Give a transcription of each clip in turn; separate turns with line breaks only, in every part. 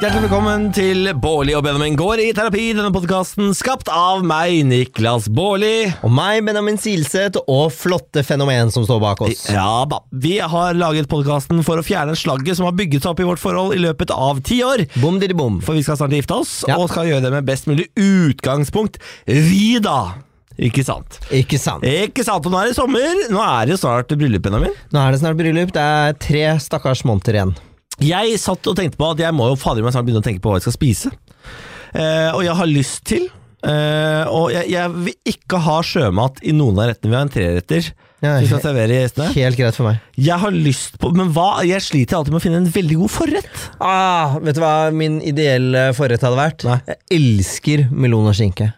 Hjertelig velkommen til Bårli og Benjamin går i terapi. Denne podkasten skapt av meg, Niklas Bårli.
Og meg, Benjamin Silseth, og flotte fenomen som står bak oss.
Ja da. Vi har laget podkasten for å fjerne slagget som har bygget seg opp i vårt forhold i løpet av ti år.
Bom diddy bom.
For vi skal snart gifte oss,
Ja.
og skal gjøre det med best mulig utgangspunkt. Vi, da! Ikke sant?
Ikke sant.
Ikke sant, og Nå er det sommer. Nå er det snart bryllup, Benjamin.
Nå er det snart bryllup. Det er tre stakkars måneder igjen.
Jeg satt og tenkte på at jeg må jo fader meg snart begynne å tenke på hva jeg skal spise. Eh, og jeg har lyst til eh, Og jeg, jeg vil ikke ha sjømat i noen av rettene. Vi har en treretter
Ja,
som vi skal servere gjestene.
Helt greit for meg.
Jeg har lyst på Men hva? Jeg sliter alltid med å finne en veldig god forrett.
Ah, vet du hva min ideelle forrett hadde vært?
Nei.
Jeg elsker melonerskinke.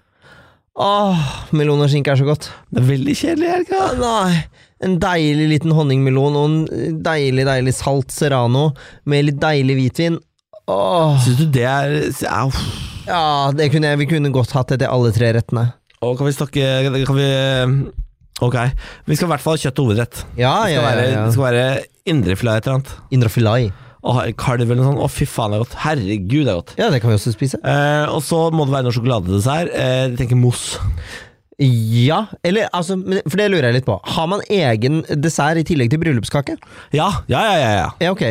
Åh, melonerskinke er så godt.
Det er veldig kjedelig, er det ikke?
Ah, Nei. En deilig liten honningmelon og en deilig, deilig salt serrano med litt deilig hvitvin. Åh,
Syns du det er au.
ja, det kunne jeg, vi kunne godt hatt det til alle tre rettene.
Og kan vi snakke Kan vi Ok. Vi skal i hvert fall ha kjøtt og hovedrett.
Ja,
Det skal
ja,
være,
ja,
det
ja.
skal være indrefilet et eller annet.
Indre filet.
Og ha- kalv eller noe sånt. Å, fy faen, det er godt. Herregud, det er godt.
Ja, det kan vi også spise.
Eh, og så må det være noe sjokoladedessert. Eh, jeg tenker mousse.
Ja, eller altså, men- for det lurer jeg litt på. Har man egen dessert i tillegg til bryllupskake?
Ja, ja, ja. ja, ja.
Ja, ok.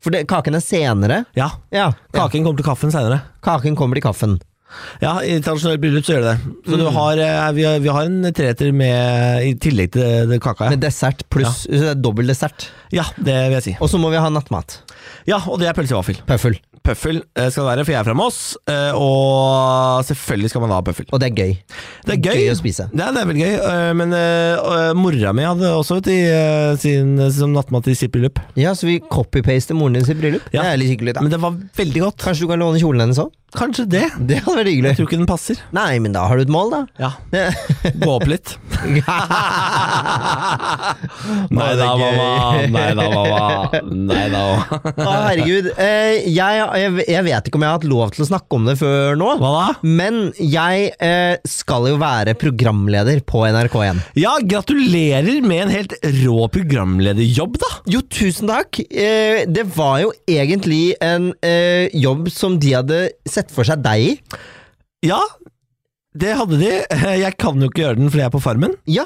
For det, kaken er senere.
ja.
Ja, ja.
Kaken kommer til kaffen seinere.
Kaken kommer i kaffen.
Ja, i tradisjonelt bryllup så gjør det det. Så du har, eh, vi, har, vi har en treretter med i tillegg til det, det kaka.
Med dessert pluss så det er dobbel dessert.
Ja. ja, det vil jeg si.
Og så må vi ha nattmat.
Ja, og det er pølse i vaffel.
Pøffel.
Pøffel eh, skal det være, for jeg er fra Moss. eh, og selvfølgelig skal man ha pøffel.
Og det er gøy.
Det er gøy.
å spise.
Ja, det er veldig gøy. eh, men eh, og, eh, mora mi hadde også vet, du, i, eh, sin, som nattmat i sitt bryllup.
Ja, så vi copypaster moren din sitt bryllup.
Ja.
Det er litt hyggelig, da.
Men det var veldig godt.
Kanskje du kan låne kjolen hennes òg?
Kanskje det.
Det hadde vært
Jeg
hyggelig.
tror ikke den passer.
Nei, men da har du et mål, da.
Ja,
Det-
Gå opp litt. Nei da,
Å, det er
mamma.
gøy.
Nei da, mamma. Nei da. mamma.
Å, herregud. Eh, jeg, jeg, jeg vet ikke om jeg har hatt lov til å snakke om det før nå.
Hva da?
Men jeg eh, skal jo være programleder på NRK1.
Ja, gratulerer med en helt rå programlederjobb, da.
Jo, tusen takk! Eh, det var jo egentlig en eh, jobb som de hadde sett for seg deg i.
Ja, det hadde de. Jeg kan jo ikke gjøre den fordi jeg er på Farmen.
Ja.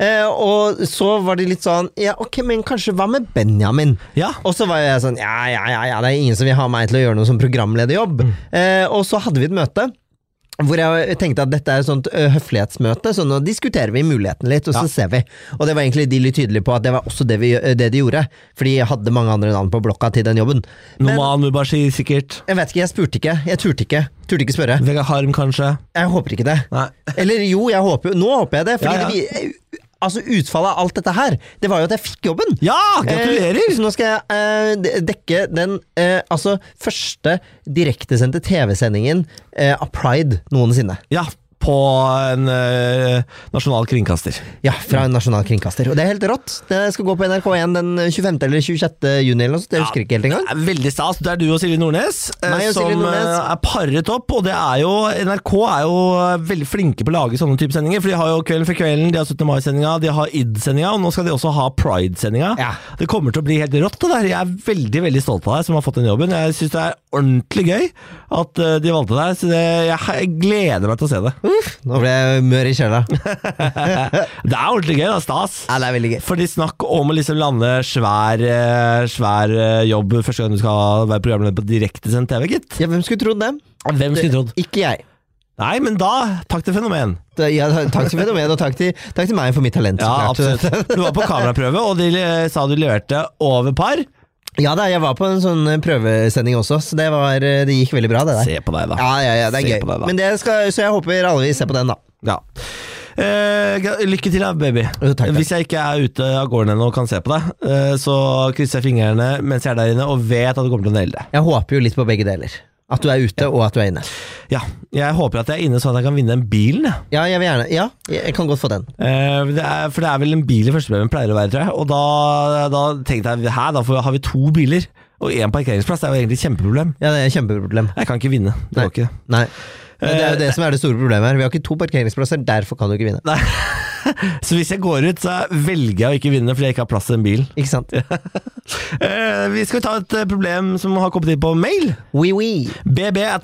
Eh, og så var de litt sånn Ja, ok, men kanskje hva med Benjamin?
Ja.
Og så var jeg sånn Ja, ja, ja, ja det er ingen som vil ha meg til å gjøre noe som programlederjobb.
Mm.
Eh, og så hadde vi et møte. Hvor jeg tenkte at dette er et sånt ø, høflighetsmøte, så nå diskuterer vi muligheten litt, og så ser vi. Og det var egentlig de litt tydelige på at det var også det, vi, ø, det de gjorde. Fordi jeg hadde mange andre navn på blokka til den jobben. Men
Noman Mubashi, sikkert.
jeg vet ikke, jeg spurte ikke. Jeg turte ikke. Turte ikke spørre.
Vegard Harm, kanskje.
Jeg håper ikke det.
Nei.
Eller jo, jeg håper jo Nå håper jeg det. Fordi
Ja,
Det, vi- altså, utfallet av alt dette her, det var jo at jeg fikk jobben.
Ja,
Eh,
gratulerer!
så nå skal jeg eh, de- dekke den eh, altså første direktesendte TV-sendingen eh, av Pride noensinne.
Ja, på en eh, nasjonal kringkaster.
Ja, Fra en nasjonal kringkaster. Og det er helt rått. Det skal gå på NRK1 den 25. eller 26. juni eller noe sånt. Jeg husker ikke helt engang.
Det er veldig stas. Det er du og Silje Nordnes eh,
Meg og
som
Silje Nordnes.
eh, er paret opp. Og det er jo, NRK er jo eh, veldig flinke på å lage sånne type sendinger. For de har jo Kvelden for kvelden, de har 17. mai-sendinga, de har ID-sendinga, og nå skal de også ha Pride-sendinga.
Ja.
Det kommer til å bli helt rått. Det der. Jeg er veldig veldig stolt av deg som har fått den jobben. Jeg syns det er ordentlig gøy at eh, de valgte deg. Så det, jeg, jeg gleder meg til å se det.
Nå ble jeg mør i sjela.
Det er ordentlig gøy. Det er stas.
Ja, det er veldig gøy.
Fordi snakk om å liksom lande svær, eh, svær eh, jobb første gang du skal være programleder på direktesendt TV, gitt.
Ja, hvem skulle trodd det?
Hvem skulle trodd?
Ikke jeg.
Nei, men da Takk til fenomen.
Da- Ja, takk til fenomenet, og takk til, takk til meg for mitt talent. så
Ja,
klart.
absolutt. Du var på kameraprøve, og de eh, sa du leverte over par.
Ja da, jeg var på en sånn eh, prøvesending også, så det, var, eh, det gikk veldig bra, det der.
Se på deg, da.
Ja, ja, ja, det er
Se
gøy.
på deg, da.
Men det skal, så jeg håper alle vil se på den, da.
Ja. Eh, gra- lykke til, da, baby.
Jo, takk, takk.
Hvis jeg ikke er ute av gården ennå og kan se på deg, eh, så krysser jeg fingrene mens jeg er der inne og vet at du kommer til å naile det.
Jeg håper jo litt på begge deler. At du er ute, og at du er inne.
Ja, jeg håper at jeg er inne sånn at jeg kan vinne den bilen. jeg.
Ja, jeg vil gjerne Ja, jeg jeg kan godt få den.
Eh, det er, for det er vel en bil i førstepremien pleier å være, tror jeg. Og da, da tenkte jeg hæ, da får vi, har vi to biler og én parkeringsplass. Det er jo egentlig et kjempeproblem.
Ja, det er et kjempeproblem.
Jeg kan ikke vinne. Det
Nei.
går ikke.
Nei. Men det er jo det som er det store problemet her. Vi har ikke to parkeringsplasser, derfor kan du ikke vinne.
Nei. Så hvis jeg går ut, så velger jeg å ikke vinne fordi jeg ikke har plass til en bil.
Ikke sant?
Eh, vi skal ta et eh, problem som har kommet inn på mail.
Oui, oui.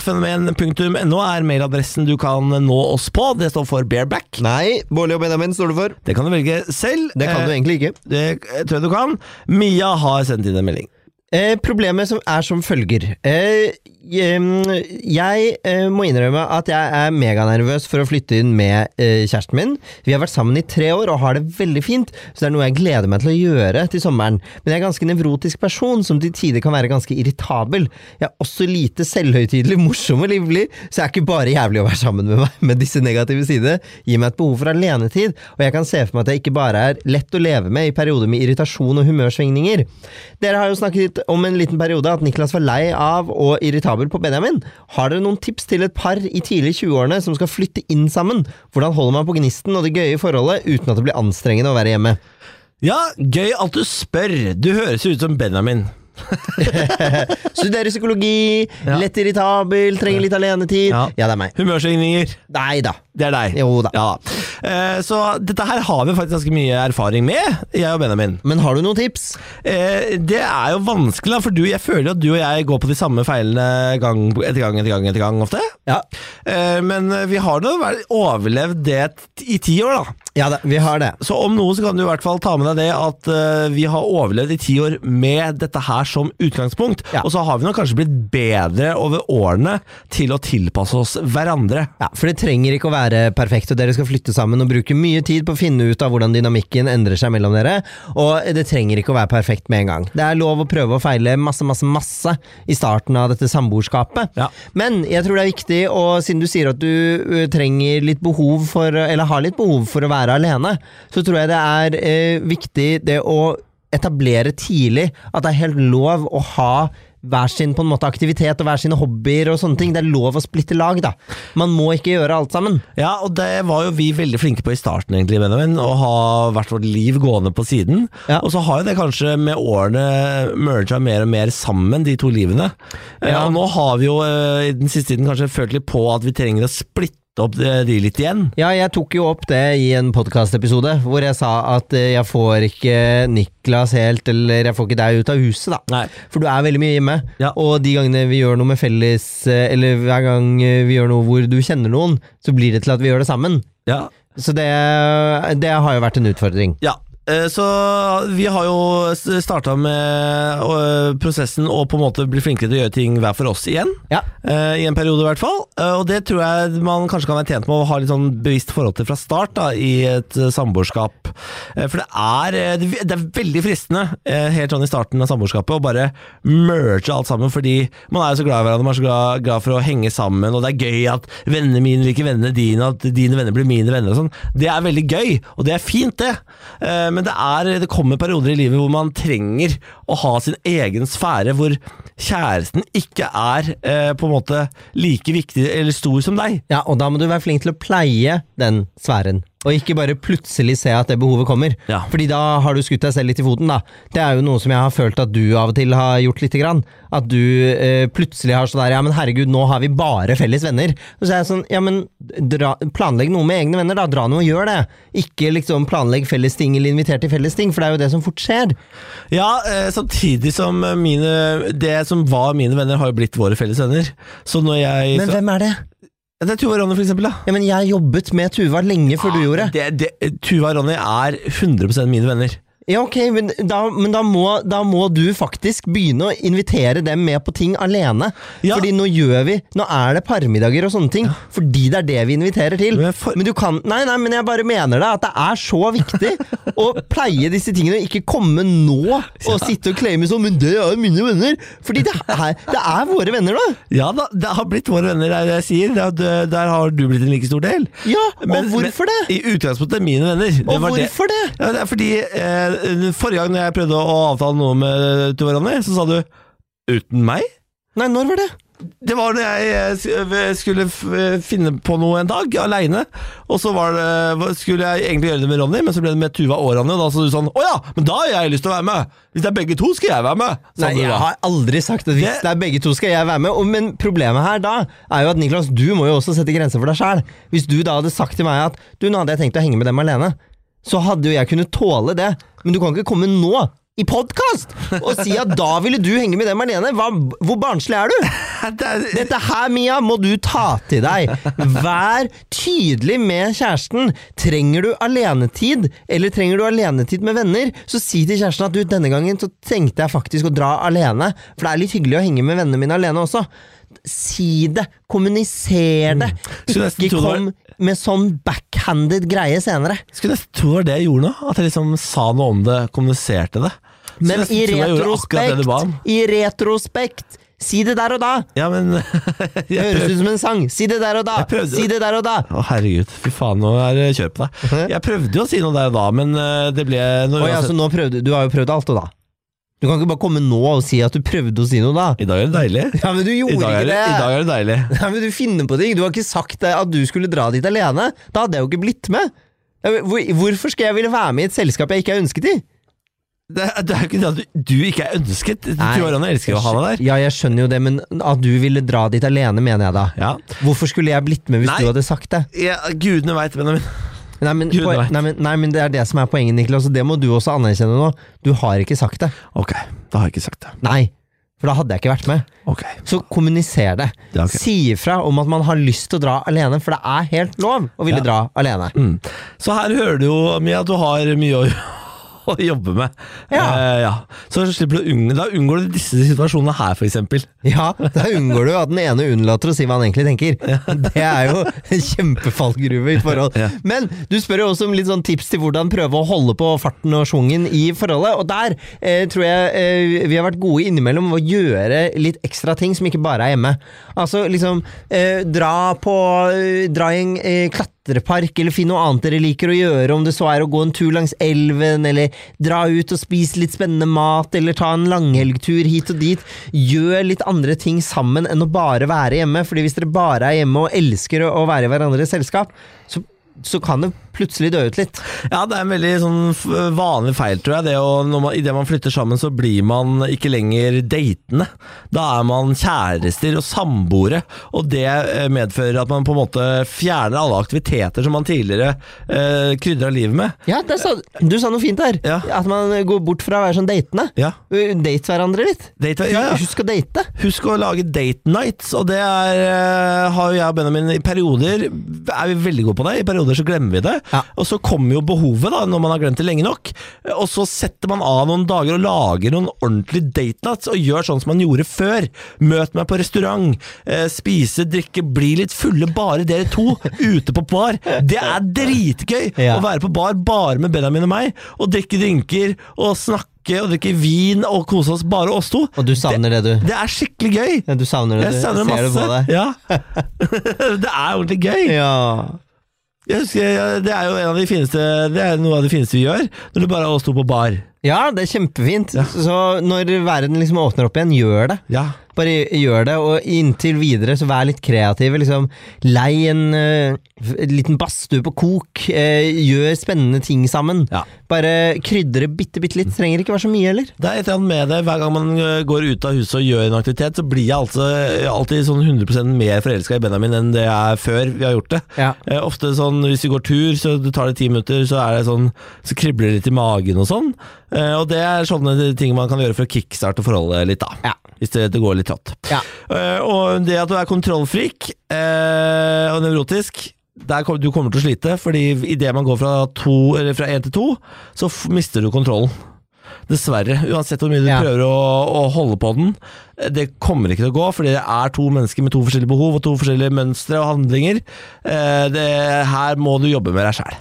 bb.fenomen.no er mailadressen du kan nå oss på. Det står for bareback.
Nei, Bårli og Benjamin står det for.
Det kan du velge selv.
Det kan du
Eh,
egentlig ikke.
Det eh, tror jeg du kan. Mia har sendt inn en melding.
Eh, problemet som er som følger. Eh, jem, jeg eh, må innrømme at jeg er meganervøs for å flytte inn med eh, kjæresten min. Vi har vært sammen i tre år og har det veldig fint, så det er noe jeg gleder meg til å gjøre til sommeren. Men jeg er en ganske nevrotisk person som til tider kan være ganske irritabel. Jeg er også lite selvhøytidelig, morsom og livlig, så jeg er ikke bare jævlig å være sammen med meg. Men disse negative sidene gir meg et behov for alenetid, og jeg kan se for meg at jeg ikke bare er lett å leve med i perioder med irritasjon og humørsvingninger. Dere har jo snakket litt om en liten periode at Niklas var lei av og irritabel på Benjamin. Har dere noen tips til et par i tidlig 20-årene som skal flytte inn sammen? Hvordan holder man på gnisten og det gøye i forholdet uten at det blir anstrengende å være hjemme?
Ja, gøy at du spør. Du høres jo ut som Benjamin.
Studerer psykologi,
Ja.
lett irritabel, trenger litt alenetid. Ja,
Ja.
det er meg.
Humørsvingninger.
Nei da.
Det er deg.
Jo da.
Ja da. Eh, Så dette her har vi faktisk ganske mye erfaring med, jeg og Benjamin.
Men har du noen tips?
Eh, Det er jo vanskelig, da, for du, jeg føler at du og jeg går på de samme feilene gang etter gang etter gang etter gang ofte.
Ja,
Eh, Men vi har nå vært- overlevd det t- i ti år, da.
ja da, vi har det.
Så om noe så kan du i hvert fall ta med deg det at eh, vi har overlevd i ti år med dette her som utgangspunkt.
Ja.
Og så har vi nok kanskje blitt bedre over årene til å tilpasse oss hverandre.
Ja, For det trenger ikke å være perfekt, og dere skal flytte sammen og bruke mye tid på å finne ut av hvordan dynamikken endrer seg mellom dere. Og det trenger ikke å være perfekt med en gang. Det er lov å prøve og feile masse, masse, masse i starten av dette samboerskapet.
Ja.
Men jeg tror det er viktig, og siden du sier at du ø, trenger litt behov for, eller har litt behov for å være alene, så tror jeg det er ø, viktig det å etablere tidlig at det er helt lov å ha hver sin på en måte aktivitet og hver sine hobbyer og sånne ting. Det er lov å splitte lag, da. Man må ikke gjøre alt sammen.
Ja, og det var jo vi veldig flinke på i starten, egentlig, Benjamin. Å ha hvert vårt liv gående på siden.
Ja.
Og så har jo det kanskje med årene merga mer og mer sammen, de to livene. Eh,
Ja.
Og nå har vi jo eh, i den siste tiden kanskje følt litt på at vi trenger å splitte opp eh, de de litt igjen.
Ja, jeg tok jo opp det i en podkastepisode hvor jeg sa at eh, jeg får ikke Niklas helt, eller jeg får ikke deg ut av huset, da.
Nei.
For du er veldig mye hjemme,
Ja.
og de gangene vi gjør noe med felles, eh, eller hver gang eh, vi gjør noe hvor du kjenner noen, så blir det til at vi gjør det sammen.
Ja.
Så det, det har jo vært en utfordring.
ja. Eh, Så vi har jo starta med eh, prosessen å på en måte bli flinkere til å gjøre ting hver for oss igjen.
Ja.
Eh, I en periode i hvert fall. Eh, og det tror jeg man kanskje kan være tjent med å ha litt sånn bevisst forhold til fra start da, i et eh, samboerskap. Eh, for det er, eh, det det er veldig fristende eh, helt sånn i starten av samboerskapet å bare merge alt sammen, fordi man er jo så glad i hverandre, man er så glad, glad for å henge sammen, og det er gøy at vennene mine liker vennene dine, at dine venner blir mine venner og sånn. Det er veldig gøy, og det er fint det. Eh, men det, er, det kommer perioder i livet hvor man trenger å ha sin egen sfære, hvor kjæresten ikke er eh, på en måte like viktig eller stor som deg.
Ja, og da må du være flink til å pleie den sfæren. Og ikke bare plutselig se at det behovet kommer.
Ja.
Fordi da har du skutt deg selv litt i foten, da. Det er jo noe som jeg har følt at du av og til har gjort lite grann. At du eh, plutselig har sånn der Ja, men herregud, nå har vi bare felles venner. Og så er jeg sånn Ja, men dra, planlegg noe med egne venner, da. Dra noe og gjør det. Ikke liksom planlegg felles ting eller inviter til felles ting, for det er jo det som fort skjer.
Ja, eh, samtidig som mine, det som var mine venner, har jo blitt våre felles venner. Så når jeg
Men
så,
hvem er det?
Det er Tuva og Ronny, for eksempel. Da.
Ja, men jeg jobbet med Tuva lenge før du gjorde.
Det, det, Tuva og Ronny er 100 mine venner.
Ja, ok, men, da, men da, må, da må du faktisk begynne å invitere dem med på ting alene.
Ja.
Fordi nå gjør vi Nå er det parmiddager og sånne ting, fordi det er det vi inviterer til.
Men jeg for-
Men du kan Nei, nei, men jeg bare mener det, at det er så viktig å pleie disse tingene, og ikke komme nå og sitte og claime sånn Men det er jo mine venner! Fordi det er, det er våre venner, da!
Ja da, det har blitt våre venner, det er det jeg sier. Det er- det- Der har du blitt en like stor del.
Ja, og hvorfor det?
I utgangspunktet er mine venner. Det
Og
var det.
hvorfor det?
Ja, det er fordi eh, Forrige gang når jeg prøvde å avtale noe med Tuva og Ronny, så sa du 'uten meg'?
Nei, når var det?
Det var når jeg eh, sk- skulle f- eh, finne på noe en dag, aleine. Og så var det, eh, skulle jeg egentlig gjøre det med Ronny, men så ble det med Tuva og Ronny. Og da sa du sånn 'Å ja, men da har jeg lyst til å være med'. Hvis det er begge to, skal jeg være med. sa
Nei,
du
jeg
da.
har aldri sagt at hvis det,
Det-
er begge to, skal jeg være med. Og, men problemet her da er jo at Niklas, du må jo også sette grenser for deg sjæl. Hvis du da hadde sagt til meg at du, nå hadde jeg tenkt å henge med dem alene, så hadde jo jeg kunnet tåle det. Men du kan ikke komme nå i podkast og si at da ville du henge med den Marlene. Hva, hvor barnslig er du?
Det er-
Dette her, Mia, må du ta til deg. Vær tydelig med kjæresten. Trenger du alenetid, eller trenger du alenetid med venner, så si til kjæresten at du, denne gangen så trengte jeg faktisk å dra alene, for det er litt hyggelig å henge med vennene mine alene også. Si det. Kommuniser det.
Skulle Mm. nesten
Ikke
tro det var-
kom med sånn backhanded greie senere.
Skulle nesten tro det var det jeg gjorde nå. At jeg liksom sa noe om det, kommuniserte det. Skulle
Men
nesten
i
tro jeg gjorde akkurat det du ba om.
retrospekt, i retrospekt, si det der og da.
Ja, men
Det
jeg
høres
prøvde.
ut som en sang. Si det der og da.
Jeg prøvde.
Si det der og da.
Å, herregud. Fy faen, nå er det kjør på deg.
Mhm.
Jeg prøvde jo å si noe der da, men eh, det ble noe
Oi,
uansett.
altså, nå prøvde, du har jo prøvd alt, og da. Du kan ikke bare komme nå og si at du prøvde å si noe, da.
I dag er det deilig.
Ja, men du
I
gjorde
dag
ikke
er det,
det.
i dag er det deilig.
Ja, men du finner på ting. Du har ikke sagt eh, at du skulle dra dit alene. Da hadde jeg jo ikke blitt med. Eh, Hvor, hvorfor skal jeg ville være med i et selskap jeg ikke er ønsket i?
Det, det er jo ikke det at du, du ikke er ønsket. Du
Nei.
Johanna elsker jo å ha deg der.
Ja, jeg skjønner jo det, men at du ville dra dit alene, mener jeg da.
Ja.
Hvorfor skulle jeg blitt med hvis
Nei.
du hadde sagt det?
ja gudene veit, Benjamin.
Nei men,
Gud,
poe-
nei.
nei, men, nei, men det er det som er poenget, Niklas, og det må du også anerkjenne nå. Du har ikke sagt det.
Ok, da har jeg ikke sagt det.
Nei. For da hadde jeg ikke vært med.
Ok.
Så kommuniser det.
Ja, ok.
Si ifra om at man har lyst til å dra alene, for det er helt lov å ville
Ja.
dra alene.
Mm. Så her hører du jo, Mia, at du har mye å, å jobbe med.
Ja.
Eh, ja. Så slipper du å unng- Da unngår du disse situasjonene her, for eksempel.
Ja, Da unngår du at den ene unnlater å si hva han egentlig tenker. Det er jo en kjempefallgruve i et forhold.
Ja.
Men du spør jo også om litt sånn tips til hvordan prøve å holde på farten og schwungen i forholdet. Og der eh, tror jeg eh, vi har vært gode innimellom å gjøre litt ekstra ting som ikke bare er hjemme. Altså liksom eh, dra på eh, Dra i en eh, klatrepark, eller finn noe annet dere liker å gjøre, om det så er å gå en tur langs elven, eller dra ut og spise litt spennende mat, eller ta en langhelgtur hit og dit. Gjør litt andre ting sammen enn å bare være hjemme, fordi hvis dere bare er hjemme og elsker å å være i hverandres selskap, så så kan det plutselig dø ut litt.
Ja, det er en veldig sånn f- vanlig feil, tror jeg. Det å, når man, I det man flytter sammen, så blir man ikke lenger datende. Da er man kjærester og samboere, og det eh, medfører at man på en måte fjerner alle aktiviteter som man tidligere eh, krydra livet med.
Ja, der sa, Du sa noe fint der.
Ja.
At man går bort fra å være sånn datende.
Ja,
Date hverandre litt.
date, ja, ja.
Husk å date.
Husk å lage date nights, og det er, eh, har jo jeg og Benjamin i perioder er vi veldig gode på det, i perioder så glemmer vi det.
Ja.
Og så kommer jo behovet, da, når man har glemt det lenge nok. Og så setter man av noen dager og lager noen ordentlige date nights, og gjør sånn som man gjorde før. Møt meg på restaurant, eh, spise, drikke, bli litt fulle, bare dere to, ute på bar. Det er dritgøy
Ja.
å være på bar bare med Benjamin og meg, og drikke drinker og snakke og drikke vin og kose oss, bare oss to.
Og du savner det, du.
Det er skikkelig gøy!
Ja, du savner det,
Jeg
du.
savner
Ser det
masse.
på deg.
Ja. det er ordentlig gøy.
Ja.
Jeg husker, ja, det er jo en av de fineste Det er noe av det fineste vi gjør, når det bare er oss to på bar.
ja, det er kjempefint. Så når verden liksom åpner opp igjen, gjør det.
Ja.
Bare gjør det, og inntil videre så vær litt kreative. Liksom. Lei en eh, liten badstue på kok. eh, gjør spennende ting sammen.
Ja.
Bare krydre bitte, bitte litt. Trenger ikke være så mye heller.
Det er et eller annet med det. Hver gang man øh, går ut av huset og gjør en aktivitet, så blir jeg altså øh, alltid sånn 100 mer forelska i Benjamin enn det jeg er før vi har gjort det.
Ja.
Eh, Ofte sånn hvis vi går tur, så du tar det ti minutter, så er det sånn Så kribler det litt i magen og sånn. Eh, Og det er sånne ting man kan gjøre for å kickstarte forholdet litt, da.
Ja.
Hvis det, det går litt trått.
Ja.
Eh, og det at du er kontrollfrik eh, og nevrotisk der kom, Du kommer til å slite, fordi idet man går fra to- eller fra én til to, så f mister du kontrollen. Dessverre. Uansett hvor mye du
Ja.
prøver å, å holde på den. eh, Det kommer ikke til å gå, fordi det er to mennesker med to forskjellige behov og to forskjellige mønstre og handlinger. Eh, det, her må du jobbe med deg sjæl.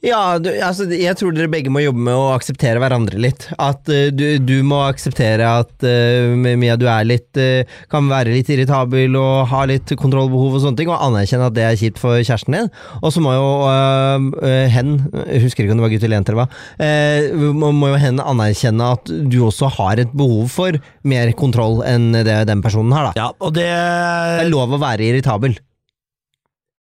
Ja, du, altså, jeg tror dere begge må jobbe med å akseptere hverandre litt. At eh, du, du må akseptere at eh, Mia, du er litt eh, kan være litt irritabel og har litt kontrollbehov og sånne ting, og anerkjenne at det er kjipt for kjæresten din. Og så må jo eh, eh, hen, jeg husker ikke om det var gutt eller jente eller hva, eh, må, må jo hen anerkjenne at du også har et behov for mer kontroll enn det den personen har, da.
Ja, og det
Det er lov å være irritabel.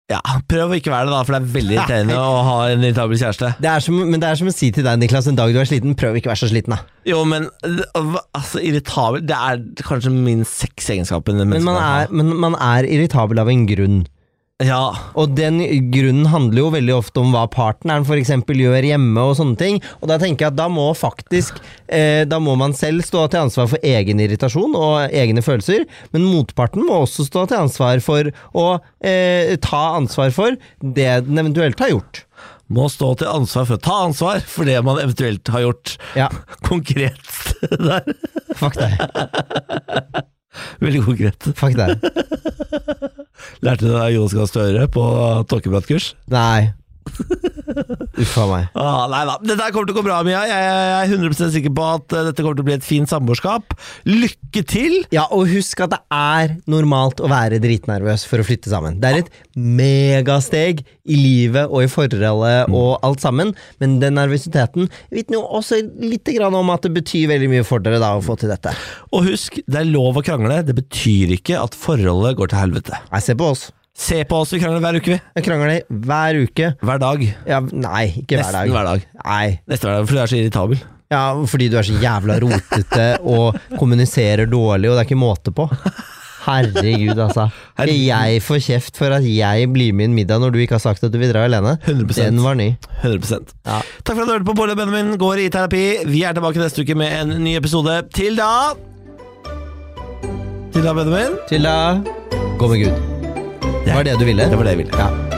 ja, Prøv å ikke være det, da, for det er veldig irriterende å ha en irritabel kjæreste.
Det er som, men det er som å si til deg, Niklas, en dag du er sliten, prøv ikke å være så sliten, da.
Jo, men altså, irritabel Det er kanskje min sexegenskap.
Men man, er, men man er irritabel av en grunn.
Ja.
Og den grunnen handler jo veldig ofte om hva partneren for eksempel gjør hjemme og sånne ting. Og da tenker jeg at da må faktisk eh, Da må man selv stå til ansvar for egen irritasjon og egne følelser, men motparten må også stå til ansvar for å eh, ta ansvar for det den eventuelt har gjort.
Må stå til ansvar for å ta ansvar for det man eventuelt har gjort.
Ja,
Konkret der.
fuck deg.
Veldig konkret.
Fuck deg.
Lærte du det av Jonas Gahr Støre på tåkepratkurs?
Nei. Uff a meg.
Ah, nei da. Dette her kommer til å gå bra, Mia. Jeg, jeg er 100 sikker på at eh, dette kommer til å bli et fint samboerskap. Lykke til!
Ja, og husk at det er normalt å være dritnervøs for å flytte sammen. Det er et megasteg i livet og i forholdet og alt sammen, men den nervøsiteten vitner jo også litt grann om at det betyr veldig mye for dere da å få til dette.
Og husk, det er lov å krangle. Det betyr ikke at forholdet går til helvete.
Nei, se på oss.
Se på oss, vi krangler hver uke, vi.
Jeg krangler hver uke.
Hver dag.
Ja, nei, ikke hver
Nesten
dag.
hver dag.
Nei.
Neste hver dag, for du er så irritabel.
Ja, fordi du er så jævla rotete og kommuniserer dårlig, og det er ikke måte på. Herregud, altså. Skal jeg få kjeft for at jeg blir med i en middag når du ikke har sagt at du vil dra alene?
100%.
Den var ny.
100
Ja.
Takk for at du hørte på Bård og Benjamin går i terapi. Vi er tilbake neste uke med en ny episode. Til da Til da, Benjamin.
Til da Gå med Gud. Det var det du ville?
Det var det jeg ville.
Ja.